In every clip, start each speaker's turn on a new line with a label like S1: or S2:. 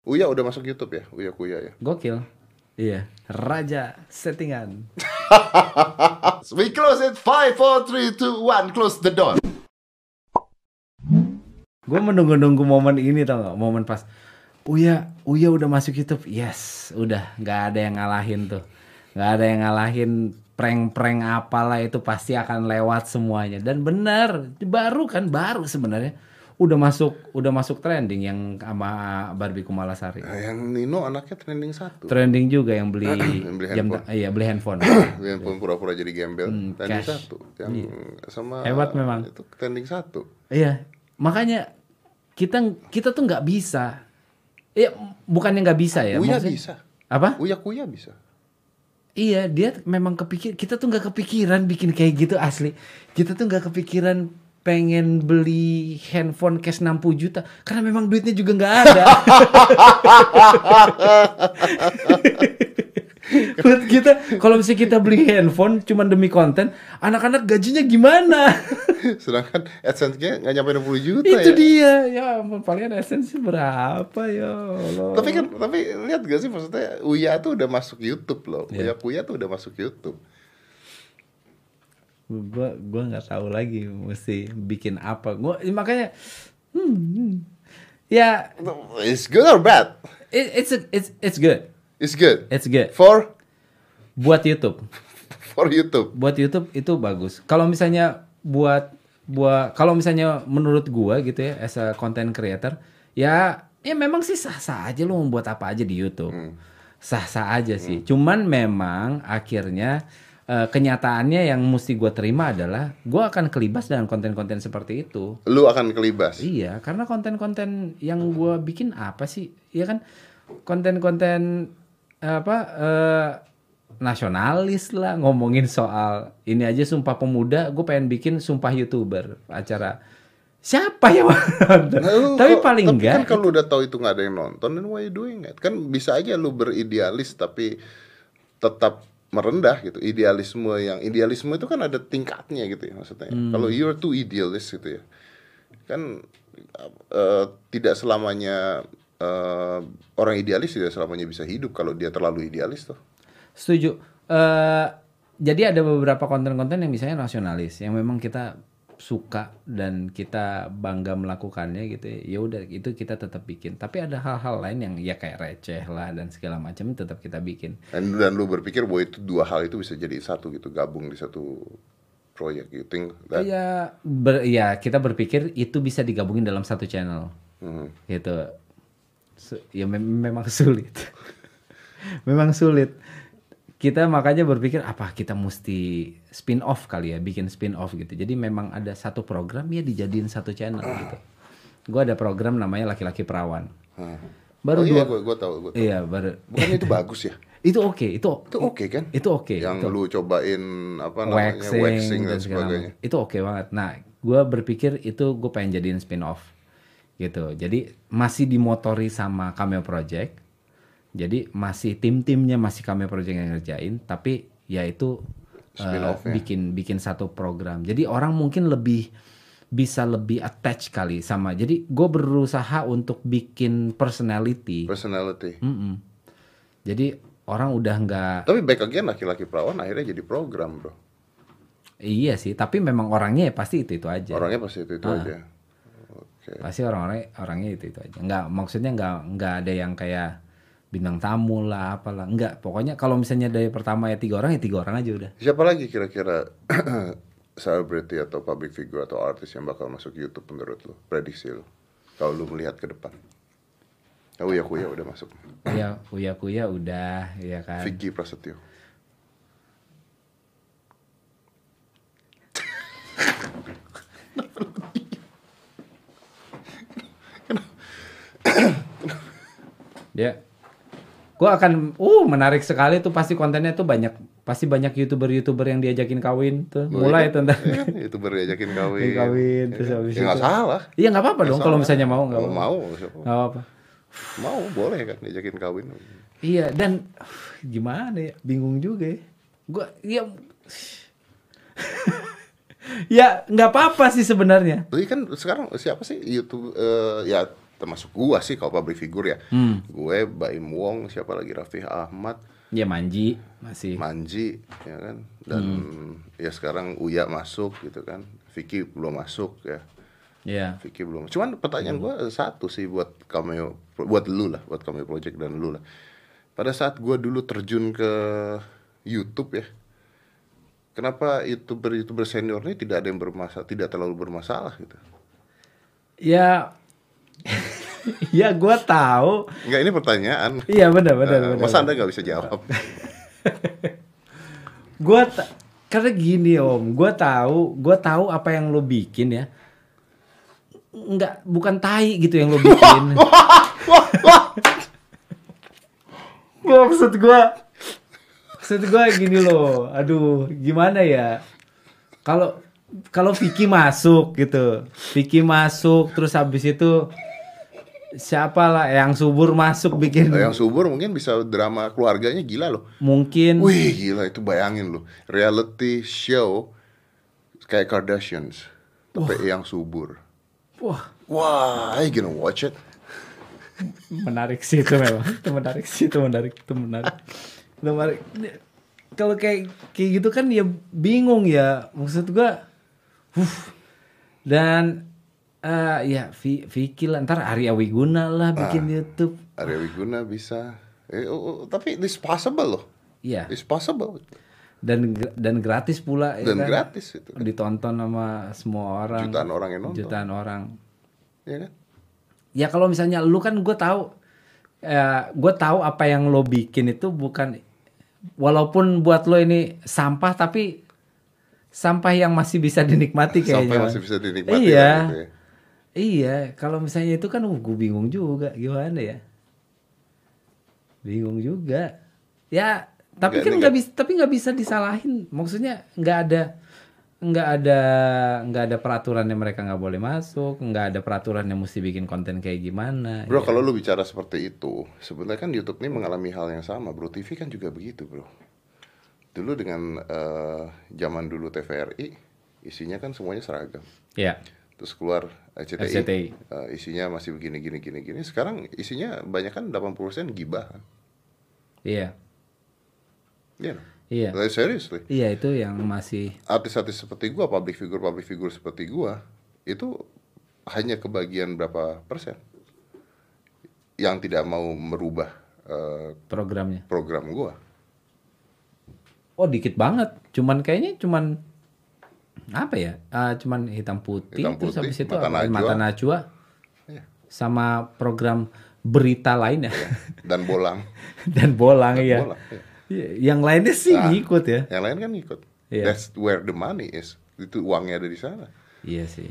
S1: Uya udah masuk YouTube ya, Uya Kuya ya.
S2: Gokil. Iya, raja settingan.
S1: We close it 5 4 3 2 1 close the door.
S2: Gue menunggu-nunggu momen ini tau gak? Momen pas Uya, Uya udah masuk YouTube. Yes, udah nggak ada yang ngalahin tuh. Nggak ada yang ngalahin prank-prank apalah itu pasti akan lewat semuanya. Dan benar, baru kan baru sebenarnya. Udah masuk, udah masuk trending yang sama Barbie Kumalasari.
S1: Nah, yang Nino anaknya trending satu.
S2: Trending juga yang beli,
S1: Beli
S2: jam
S1: handphone.
S2: iya beli handphone.
S1: Yang pun pura-pura jadi gembel.
S2: Hmm,
S1: trending
S2: cash. Iya.
S1: satu. Yang sama
S2: Hebat memang.
S1: Itu trending satu.
S2: Iya, makanya kita kita tuh nggak bisa. Iya, bukannya nggak bisa ya?
S1: Uya
S2: maksudnya-
S1: bisa.
S2: Apa?
S1: Uya Kuya bisa.
S2: Iya, dia memang kepikir. Kita tuh nggak kepikiran bikin kayak gitu asli. Kita tuh nggak kepikiran pengen beli handphone cash 60 juta karena memang duitnya juga nggak ada. Menurut kita kalau misalnya kita beli handphone cuman demi konten, anak-anak gajinya gimana?
S1: Sedangkan AdSense-nya nggak nyampe 60 juta
S2: Itu
S1: ya.
S2: dia. Ya ampun, palingan esensi berapa ya Allah.
S1: Tapi kan tapi lihat gak sih maksudnya Uya tuh udah masuk YouTube loh.
S2: Ya.
S1: Uya Kuya tuh udah masuk YouTube.
S2: gua gua nggak tahu lagi mesti bikin apa gua makanya hmm, hmm. ya
S1: It's good or bad?
S2: it, it's a- it's it's good
S1: It's good.
S2: it's good
S1: For
S2: buat YouTube
S1: for YouTube.
S2: buat YouTube itu bagus kalau misalnya buat buat kalau misalnya menurut gua gitu ya as a content creator ya ya memang sih sah sah aja lu membuat apa aja di YouTube sah sah aja sih cuman memang akhirnya eh, kenyataannya yang mesti gua terima adalah gua akan kelibas dengan konten-konten seperti itu
S1: Lu akan kelibas.
S2: Iya, karena konten-konten yang gua bikin apa sih? Iya kan konten-konten apa eh, nasionalis lah ngomongin soal ini aja sumpah pemuda, gue pengen bikin sumpah youtuber acara siapa yang mau nonton?
S1: Nah, lu
S2: tapi
S1: kalau-
S2: paling
S1: tapi
S2: enggak
S1: kan kalau udah tahu itu nggak ada yang nonton then why you doing it kan bisa aja lu beridealis tapi tetap merendah gitu idealisme yang idealisme itu kan ada tingkatnya gitu ya maksudnya
S2: Hmm.
S1: kalau you're too idealist gitu ya kan eh, tidak selamanya eh, orang idealis tidak selamanya bisa hidup kalau dia terlalu idealis tuh
S2: Setuju. eh jadi ada beberapa konten-konten yang misalnya nasionalis yang memang kita suka dan kita bangga melakukannya gitu ya. Ya udah itu kita tetap bikin. Tapi ada hal-hal lain yang ya kayak receh lah dan segala macam tetap kita bikin.
S1: dan, dan lu berpikir bahwa itu dua hal itu bisa jadi satu gitu gabung di satu proyek gitu. you think that
S2: Ya ber- ya kita berpikir itu bisa digabungin dalam satu channel.
S1: Mhm.
S2: Gitu. Su- ya mem- memang sulit. memang sulit. Kita makanya berpikir apa kita mesti spin off kali ya, bikin spin off gitu. Jadi memang ada satu program ya dijadiin satu channel gitu. Gua ada program namanya laki-laki perawan.
S1: Hmm. oh,
S2: Baru dua
S1: iya gue gue tahu gue
S2: Iya, baru
S1: bukan itu bagus ya
S2: itu oke, itu
S1: itu oke kan
S2: itu oke.
S1: yang
S2: itu
S1: lu cobain apa namanya
S2: Iya, waxing,
S1: waxing,
S2: dan,
S1: dan,
S2: segala
S1: sebagainya
S2: macam. Itu oke banget. Nah, gue berpikir itu gue pengen jadiin spin off gitu. Jadi masih dimotori sama Cameo Project. Jadi masih tim-timnya masih Cameo Project yang ngerjain, tapi yaitu
S1: Spin off-nya.
S2: bikin bikin satu program. Jadi orang mungkin lebih bisa lebih attach kali sama. Jadi gue berusaha untuk bikin personality.
S1: personality
S2: Mm-mm. Jadi orang udah nggak
S1: tapi back again laki-laki perawan akhirnya jadi program bro
S2: iya sih, tapi memang orangnya ya pasti itu itu aja.
S1: orangnya pasti itu itu
S2: Ah.
S1: aja oke
S2: pasti orang-orang orangnya itu itu aja nggak maksudnya nggak nggak ada yang kayak bintang tamu lah apalah nggak pokoknya kalau misalnya dari pertama ya tiga orang ya tiga orang aja udah
S1: siapa lagi kira-kira selebriti atau public figure atau artis yang bakal masuk YouTube menurut lu prediksi lu kalau lu melihat ke depan Oh ya kuya udah masuk.
S2: ya kuya kuya udah ya kan
S1: Vicky Prasetyo.
S2: dia gua akan uh menarik sekali tuh pasti kontennya tuh banyak pasti banyak youtuber youtuber yang diajakin kawin tuh mulai tuh ntar.
S1: Iya kan, YouTuber diajakin kawin.
S2: Diajakin kawin,
S1: Iya
S2: terus
S1: kan?
S2: habis
S1: Ya nggak
S2: itu-
S1: salah.
S2: iya nggak apa-apa dong kalau misalnya mau nggak
S1: Kalau
S2: apa-apa.
S1: mau, siapa-
S2: nggak apa-apa
S1: mau boleh kan diajakin kawin.
S2: iya dan uh, gimana ya bingung juga ya gua ya ya nggak apa-apa sih sebenarnya
S1: Tapi kan sekarang siapa sih YouTube eh, ya termasuk gua sih kalau public figure ya gue Baim Wong siapa lagi Raffi Ahmad
S2: Ya Manji masih.
S1: Manji ya kan dan ya sekarang Uya masuk gitu kan Vicky belum masuk ya
S2: Ya.
S1: Vicky belum cuman pertanyaan
S2: Hmm.
S1: gua satu sih buat cameo buat lu lah buat cameo project dan lu lah pada saat gua dulu terjun ke YouTube ya kenapa youtuber youtuber senior ini tidak ada yang bermasalah tidak terlalu bermasalah gitu
S2: Ya. ya gua tahu.
S1: Enggak ini pertanyaan
S2: Iya benar benar
S1: Eh,
S2: benar.
S1: masa anda nggak bisa jawab
S2: Gua ta- karena gini Om, gua tahu, gua tahu apa yang lo bikin ya. Enggak, bukan tai gitu yang lo bikin. Gua maksud gua maksud gua gini loh. Aduh, gimana ya? Kalau kalau Vicky masuk gitu. Vicky masuk terus habis itu siapa lah yang subur masuk bikin
S1: Eh, yang subur mungkin bisa drama keluarganya gila loh
S2: mungkin
S1: Wih gila itu bayangin lu reality show kayak Kardashians tapi yang subur.
S2: wah
S1: Wah, are you gonna watch it?
S2: menarik sih itu memang itu menarik sih itu menarik itu menarik Itu menarik kalau kayak kayak gitu kan ya bingung ya maksud gua huff. dan eh ya Vi- Vicky lah ntar Arya Wiguna lah bikin
S1: Ah.
S2: YouTube
S1: Arya Wiguna bisa. Eh, oh, oh, tapi it's possible loh.
S2: ya
S1: It's possible
S2: dan gra- dan gratis pula ya
S1: dan
S2: kan?
S1: gratis itu.
S2: ditonton sama semua orang
S1: Jutaan orang yang nonton.
S2: jutaan orang
S1: Ya kan?
S2: ya kalau misalnya lu kan gue tahu eh, gue tahu apa yang lo bikin itu bukan walaupun buat lo ini sampah tapi sampah yang masih bisa
S1: Sampai
S2: dinikmati kayaknya
S1: masih bisa dinikmati
S2: iya
S1: lah gitu ya.
S2: iya kalau misalnya itu kan gue bingung juga gimana ya bingung juga ya
S1: Nggak-
S2: tapi kan
S1: nggak-
S2: nggak bisa tapi nggak bisa disalahin maksudnya nggak ada nggak ada nggak ada peraturan yang mereka nggak boleh masuk nggak ada peraturan yang mesti bikin konten kayak gimana
S1: Bro, kalau lu bicara seperti itu, sebenarnya kan YouTube ini mengalami hal yang sama, Bro. TV kan juga begitu, Bro. Dulu dengan eh, zaman dulu TVRI, isinya kan semuanya seragam.
S2: ya
S1: terus keluar RCTI,
S2: RCTI.
S1: Eh, isinya masih begini gini gini gini sekarang isinya banyak kan 80% gibah kan
S2: iya
S1: Iya dong?
S2: Iya.
S1: Like, seriously
S2: iya itu yang masih
S1: artis-artis seperti gua public figure public figure seperti gua itu hanya kebagian berapa persen yang tidak mau merubah eh,
S2: programnya
S1: program gua
S2: oh dikit banget cuman kayaknya cuman apa ya Ah, cuman hitam putih,
S1: Hitam
S2: terus
S1: putih,
S2: habis itu
S1: Mata
S2: apa?
S1: Najwa.
S2: mata najwa
S1: Iya.
S2: sama program berita lainnya
S1: dan bolang
S2: dan bolang ya
S1: Iya. bolang, iya.
S2: yang lainnya sih
S1: Nah.
S2: ngikut ya
S1: yang lain kan ikut
S2: Iya.
S1: that's where the money is itu uangnya ada di sana
S2: iya sih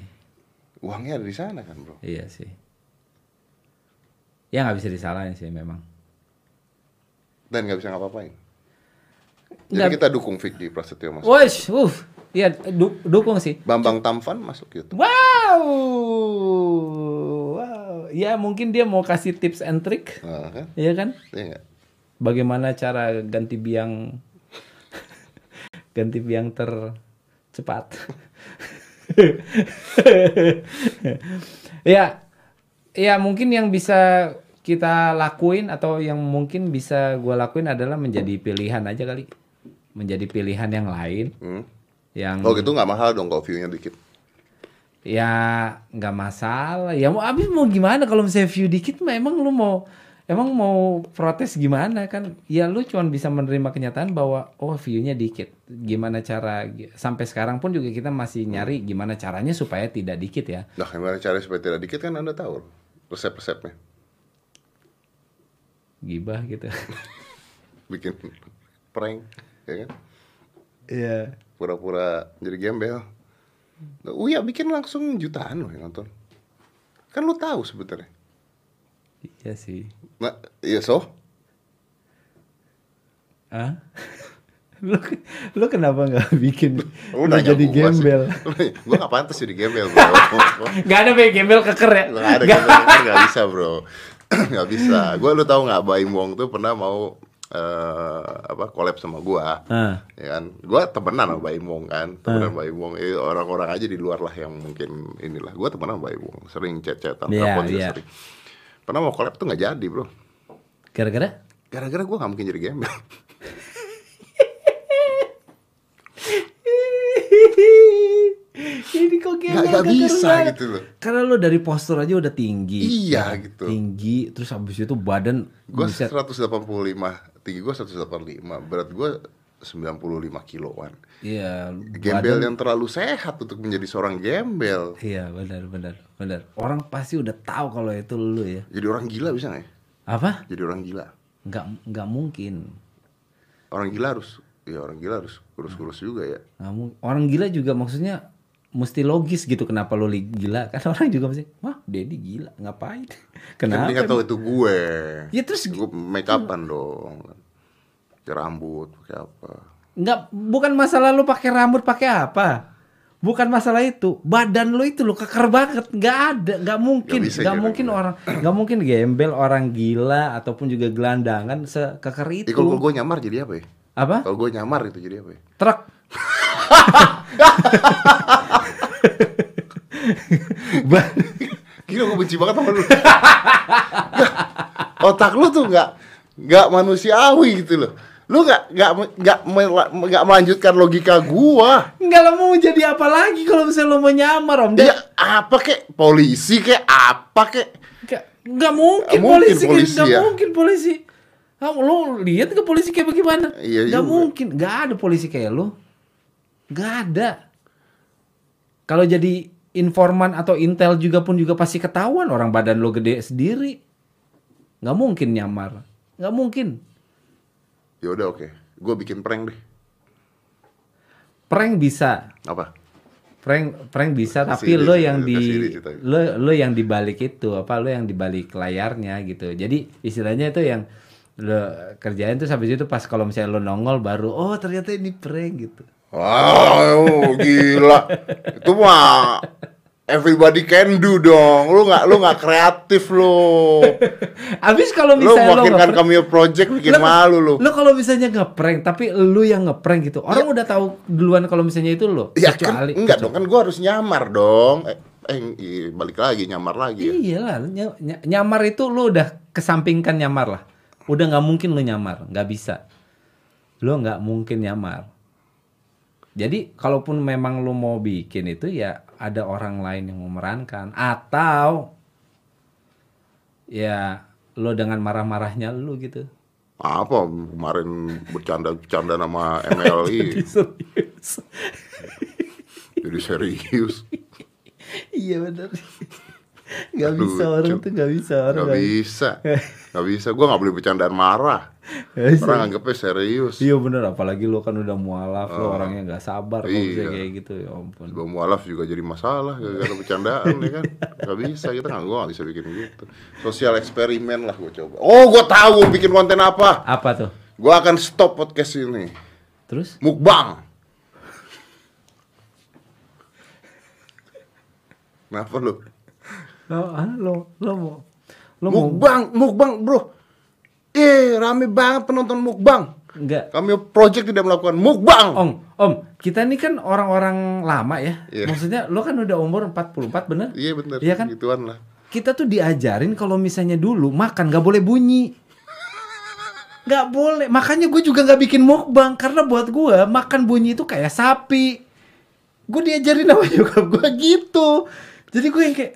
S1: uangnya ada di sana kan bro
S2: iya sih ya nggak bisa disalahin sih memang
S1: dan nggak bisa ngapa-ngapain jadi
S2: nggak
S1: kita dukung Vicky Prasetyo masuk
S2: Wosh, uh, iya du- dukung sih
S1: Bambang Tamfan masuk YouTube.
S2: Wow, wow. Ya mungkin dia mau kasih tips and trick,
S1: Nah, kan?
S2: ya kan?
S1: Iya nggak?
S2: Bagaimana cara ganti biang, ganti biang tercepat? ya, ya mungkin yang bisa kita lakuin atau yang mungkin bisa gua lakuin adalah menjadi pilihan aja kali, menjadi pilihan yang lain,
S1: Hmm.
S2: yang
S1: Oh gitu nggak mahal dong kalau view-nya dikit.
S2: ya nggak masalah ya mau abis mau gimana kalau misalnya view dikit mah emang lu mau emang mau protes gimana kan ya lu cuman bisa menerima kenyataan bahwa oh viewnya dikit gimana cara sampai sekarang pun juga kita masih nyari gimana caranya supaya tidak dikit ya
S1: Nah gimana cara supaya tidak dikit kan anda tahu resep-resepnya.
S2: gibah gitu
S1: Bikin prank, ya kan?
S2: Iya
S1: Pura-pura jadi gembel. Nah, Uya bikin langsung jutaan loh yang nonton. Kan lu tahu sebetulnya.
S2: iya sih
S1: Nah, iya so,
S2: ah lu lu kenapa nggak bikin
S1: lu
S2: lu,
S1: nanya gua
S2: jadi
S1: sih.
S2: gembel
S1: Lu nanya, Gua nggak pantas jadi gembel bro.
S2: nggak ada be, gembel keker ya
S1: Nggak ada gembel kan nggak bisa bro. nggak bisa. Gua lu tahu nggak Baim Wong tuh pernah mau eh, apa collab sama gua.
S2: ah
S1: ya kan gue temenan
S2: Hmm.
S1: sama Baim Wong kan temenan Baim Wong Eh, orang-orang aja di luar lah yang mungkin inilah gue temenan sama Baim Wong sering chat-chatan
S2: Iya,
S1: telepon juga
S2: iya.
S1: sering Pernah mau collab tuh nggak jadi bro.
S2: Gara-gara?
S1: Gara-gara gue nggak mungkin jadi gembel.
S2: Ini kok
S1: Nggak- nggak
S2: gagal
S1: bisa
S2: banget.
S1: gitu loh.
S2: Karena lo dari postur aja udah tinggi.
S1: Iya,
S2: Ya,
S1: gitu.
S2: Tinggi, terus habis itu badan
S1: Gue
S2: bisa
S1: 185 tinggi gue 185 berat gue 95 kiloan.
S2: Iya,
S1: Gembel
S2: badan-
S1: yang terlalu sehat untuk menjadi seorang gembel.
S2: Iya, benar benar benar. Orang pasti udah tahu kalau itu lu ya.
S1: Jadi orang gila bisa nggak ya?
S2: Apa?
S1: Jadi orang gila.
S2: Nggak nggak mungkin.
S1: Orang gila harus ya orang gila harus kurus-kurus juga ya.
S2: Nggak mung- orang gila juga maksudnya mesti logis gitu kenapa lo li- gila kan orang juga mesti wah Dedi gila ngapain
S1: Kan dia nggak
S2: kenapa
S1: tahu itu gue.
S2: ya terus
S1: Gue make upan dong. kan. Pakai rambut, pakai apa.
S2: nggak bukan masalah lo pakai rambut pakai apa bukan masalah itu badan lo itu lo keker banget nggak ada nggak mungkin
S1: Nggak bisa
S2: nggak
S1: gila,
S2: mungkin
S1: gila.
S2: orang nggak mungkin gembel orang gila ataupun juga gelandangan sekeker
S1: Eh kalau
S2: itu
S1: gue nyamar jadi apa ya?
S2: apa
S1: Kalau gue nyamar itu jadi apa ya?
S2: truk Ba-
S1: Gila gue benci banget sama lu. Nggak, Otak lu tuh nggak nggak manusiawi gitu loh. Lu nggak nggak nggak mela- nggak melanjutkan logika gua.
S2: Enggak lah mau jadi apa lagi kalau misalnya lo mau nyamar om
S1: Dia
S2: Ded?
S1: apa kek polisi kek apa kek
S2: Enggak, enggak mungkin,
S1: Nggak mungkin
S2: polisi,
S1: polisi
S2: enggak
S1: ya.
S2: mungkin polisi. Kamu lo lihat ke polisi kayak bagaimana?
S1: Iya
S2: enggak
S1: juga.
S2: mungkin, enggak ada polisi kayak lo. Enggak ada. Kalau jadi informan atau intel juga pun juga pasti ketahuan orang badan lo gede sendiri. Enggak mungkin nyamar. Enggak mungkin.
S1: ya udah oke gue bikin prank deh
S2: Prank bisa.
S1: apa
S2: Prank prank bisa tapi
S1: Kasih ide,
S2: lo yang di
S1: kasih ide cerita.
S2: lo lo yang dibalik itu apa lo yang dibalik layarnya gitu jadi istilahnya itu yang lo kerjain tuh habis itu pas kalau misalnya lo nongol baru oh ternyata ini prank gitu
S1: Wow, gila. Itu mah everybody can do dong. Lu nggak lu nggak kreatif lu.
S2: abis kalau
S1: Lu
S2: misalnya lo
S1: makin kan
S2: nge-
S1: cameo project bikin malu lu.
S2: lo kalau misalnya ngeprank tapi lo yang ngeprank gitu orang udah tahu duluan kalau misalnya itu lo
S1: Ya Iya. kan enggak dong kan gua harus nyamar dong. Eh, eh, iya, balik lagi nyamar lagi. ya.
S2: iya lah ny- ny- nyamar itu lo udah kesampingkan nyamar lah udah nggak mungkin lo nyamar nggak bisa lo nggak mungkin nyamar jadi kalaupun memang lo mau bikin itu ya ada orang lain yang memerankan atau ya lo dengan marah-marahnya lo gitu
S1: Apa kemarin bercanda-bercanda nama MLI
S2: serius
S1: jadi serius.
S2: iya benar nggak
S1: Aduh,
S2: bisa orang
S1: Cuk.
S2: tuh nggak bisa orang
S1: Gak
S2: nggak-
S1: bisa. Gak bisa gua nggak boleh bercandaan marah.
S2: nggak bisa.
S1: Orang anggapnya serius.
S2: Iya bener, apalagi lo kan udah mualaf, lo orangnya nggak sabar kalau
S1: Ah. Iya.
S2: misalnya kayak gitu, ya ampun.
S1: Sebelum mualaf juga jadi masalah gara-gara bercandaan ya kan Gak bisa kita nggak gua nggak bisa bikin gitu Sosial eksperimen lah gue coba Oh gue tahu gua bikin konten apa
S2: Apa tuh?
S1: Gue akan stop podcast ini
S2: Terus?
S1: Mukbang Kenapa lu?
S2: Lo, ah, lo, lo mau, lo mau
S1: Mukbang, mukbang bro Eh rame banget penonton mukbang
S2: nggak?
S1: Kami project tidak melakukan mukbang
S2: Om, om, kita ini kan orang-orang lama ya.
S1: Iya.
S2: Maksudnya lo kan udah umur 44 bener?
S1: Iya bener,
S2: Iya kan?
S1: gituan lah
S2: Kita tuh diajarin kalau misalnya dulu makan nggak boleh bunyi. Nggak boleh. Makanya gue juga nggak bikin mukbang karena buat gue makan bunyi itu kayak sapi. Gue diajarin sama nyokap gue gitu. Jadi gue yang kayak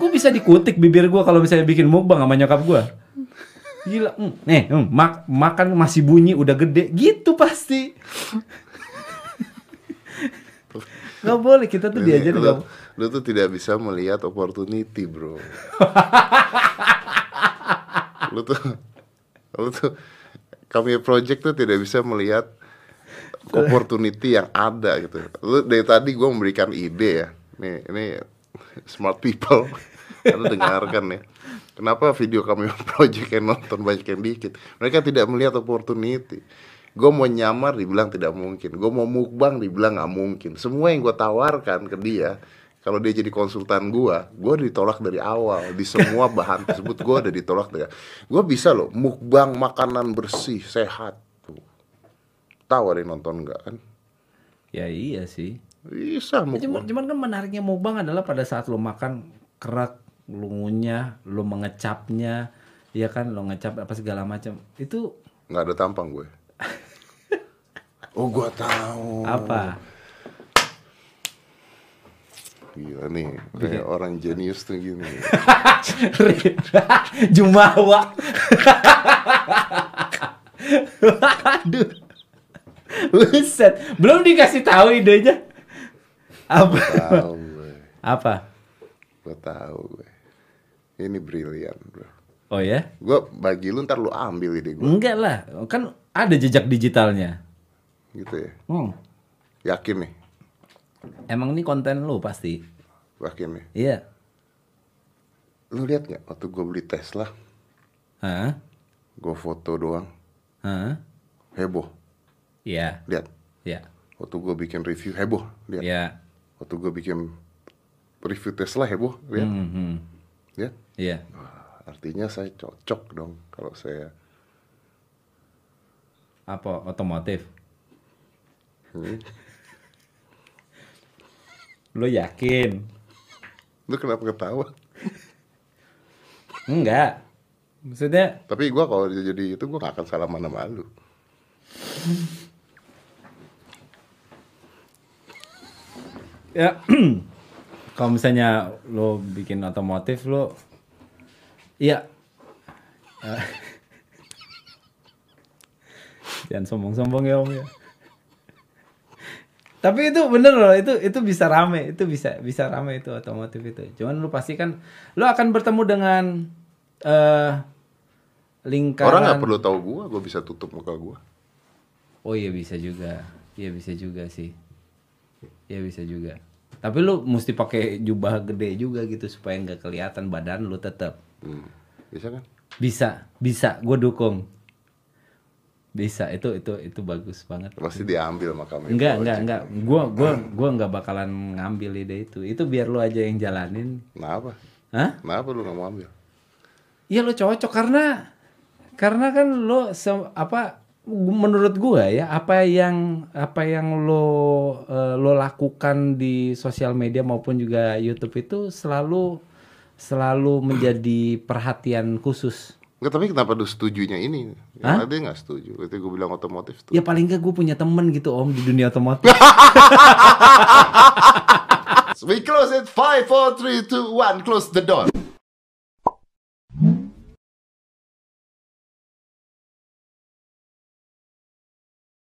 S2: gue bisa dikutik bibir gue kalau misalnya bikin mukbang sama nyokap gue. Gila, hmm, nih hmm, mak- makan masih bunyi udah gede gitu pasti. Gak boleh kita tuh
S1: Ini
S2: diajarin
S1: lu,
S2: nggak-
S1: lu tuh tidak bisa melihat opportunity bro lu tuh lu tuh kami project tuh tidak bisa melihat opportunity yang ada gitu lu dari tadi gua memberikan ide ya nih ini smart people lu dengarkan ya kenapa video kami project yang nonton banyak yang dikit mereka tidak melihat opportunity gue mau nyamar dibilang tidak mungkin gue mau mukbang dibilang nggak mungkin semua yang gue tawarkan ke dia kalau dia jadi konsultan gua, gua ditolak dari awal di semua bahan tersebut gua udah ditolak dari. Gua bisa loh mukbang makanan bersih sehat tuh. Tahu ada yang nonton nggak kan?
S2: Ya iya sih.
S1: Bisa
S2: Ya, Cuman,
S1: mukbang.
S2: cuman kan menariknya mukbang adalah pada saat lo makan kerak lu ngunyah, lu mengecapnya, ya kan lu ngecap apa segala macam. Itu
S1: nggak ada tampang gue oh gue tahu
S2: apa?
S1: gila nih
S2: Iya.
S1: kayak orang jenius tuh gini
S2: Jumawa. Aduh. Buset, belum dikasih tahu idenya. Apa?
S1: tahu gue
S2: Apa?
S1: gue tahu gue ini brilian bro
S2: Oh ya?
S1: gue bagi lu ntar lu ambil ide gue
S2: Enggak lah, kan ada jejak digitalnya.
S1: gitu ya
S2: Hmm.
S1: yakin nih
S2: Emang ini konten lu pasti.
S1: yakin nih
S2: Iya.
S1: lu lihat nggak waktu gue beli Tesla
S2: Hah?
S1: gue foto doang
S2: Hah?
S1: heboh
S2: Iya.
S1: lihat
S2: Iya.
S1: waktu gue bikin review heboh lihat
S2: Iya.
S1: waktu gue bikin review Tesla heboh lihat
S2: Mhm.
S1: lihat
S2: Iya.
S1: Wah, artinya saya cocok dong kalau saya
S2: Apa otomotif?
S1: Hmm.
S2: Lu yakin?
S1: lu kenapa ketawa
S2: Enggak. Maksudnya
S1: tapi gua kalau dia jadi itu gua gak akan salaman sama lu
S2: ya kalau misalnya lo bikin otomotif lo iya Eh, jangan sombong-sombong ya om ya tapi itu bener loh itu itu bisa rame itu bisa bisa rame itu otomotif itu cuman lo pasti kan lo akan bertemu dengan eh lingkaran
S1: orang nggak perlu tahu gua gua bisa tutup muka gua
S2: Oh iya bisa juga. Iya bisa juga sih. Iya bisa juga. Tapi lu mesti pakai jubah gede juga gitu supaya nggak kelihatan badan lu tetap.
S1: hmm. bisa kan
S2: Bisa, bisa. Gue dukung. Bisa. Itu itu itu bagus banget.
S1: pasti diambil sama kami
S2: Enggak, enggak, enggak. Gua gua gua nggak bakalan ngambil ide itu. Itu biar lu aja yang jalanin.
S1: kenapa
S2: Hah?
S1: kenapa lu gak mau ambil
S2: Iya lo cocok karena karena kan lo se- apa menurut gua ya apa yang apa yang lo eh, lo lakukan di sosial media maupun juga YouTube itu selalu selalu menjadi perhatian khusus.
S1: Nggak, tapi kenapa lu setujunya ini karena dia nggak setuju itu gua bilang otomotif tuh
S2: Ya paling enggak gue punya temen gitu om di dunia otomotif.
S1: we close it five four three two one close the door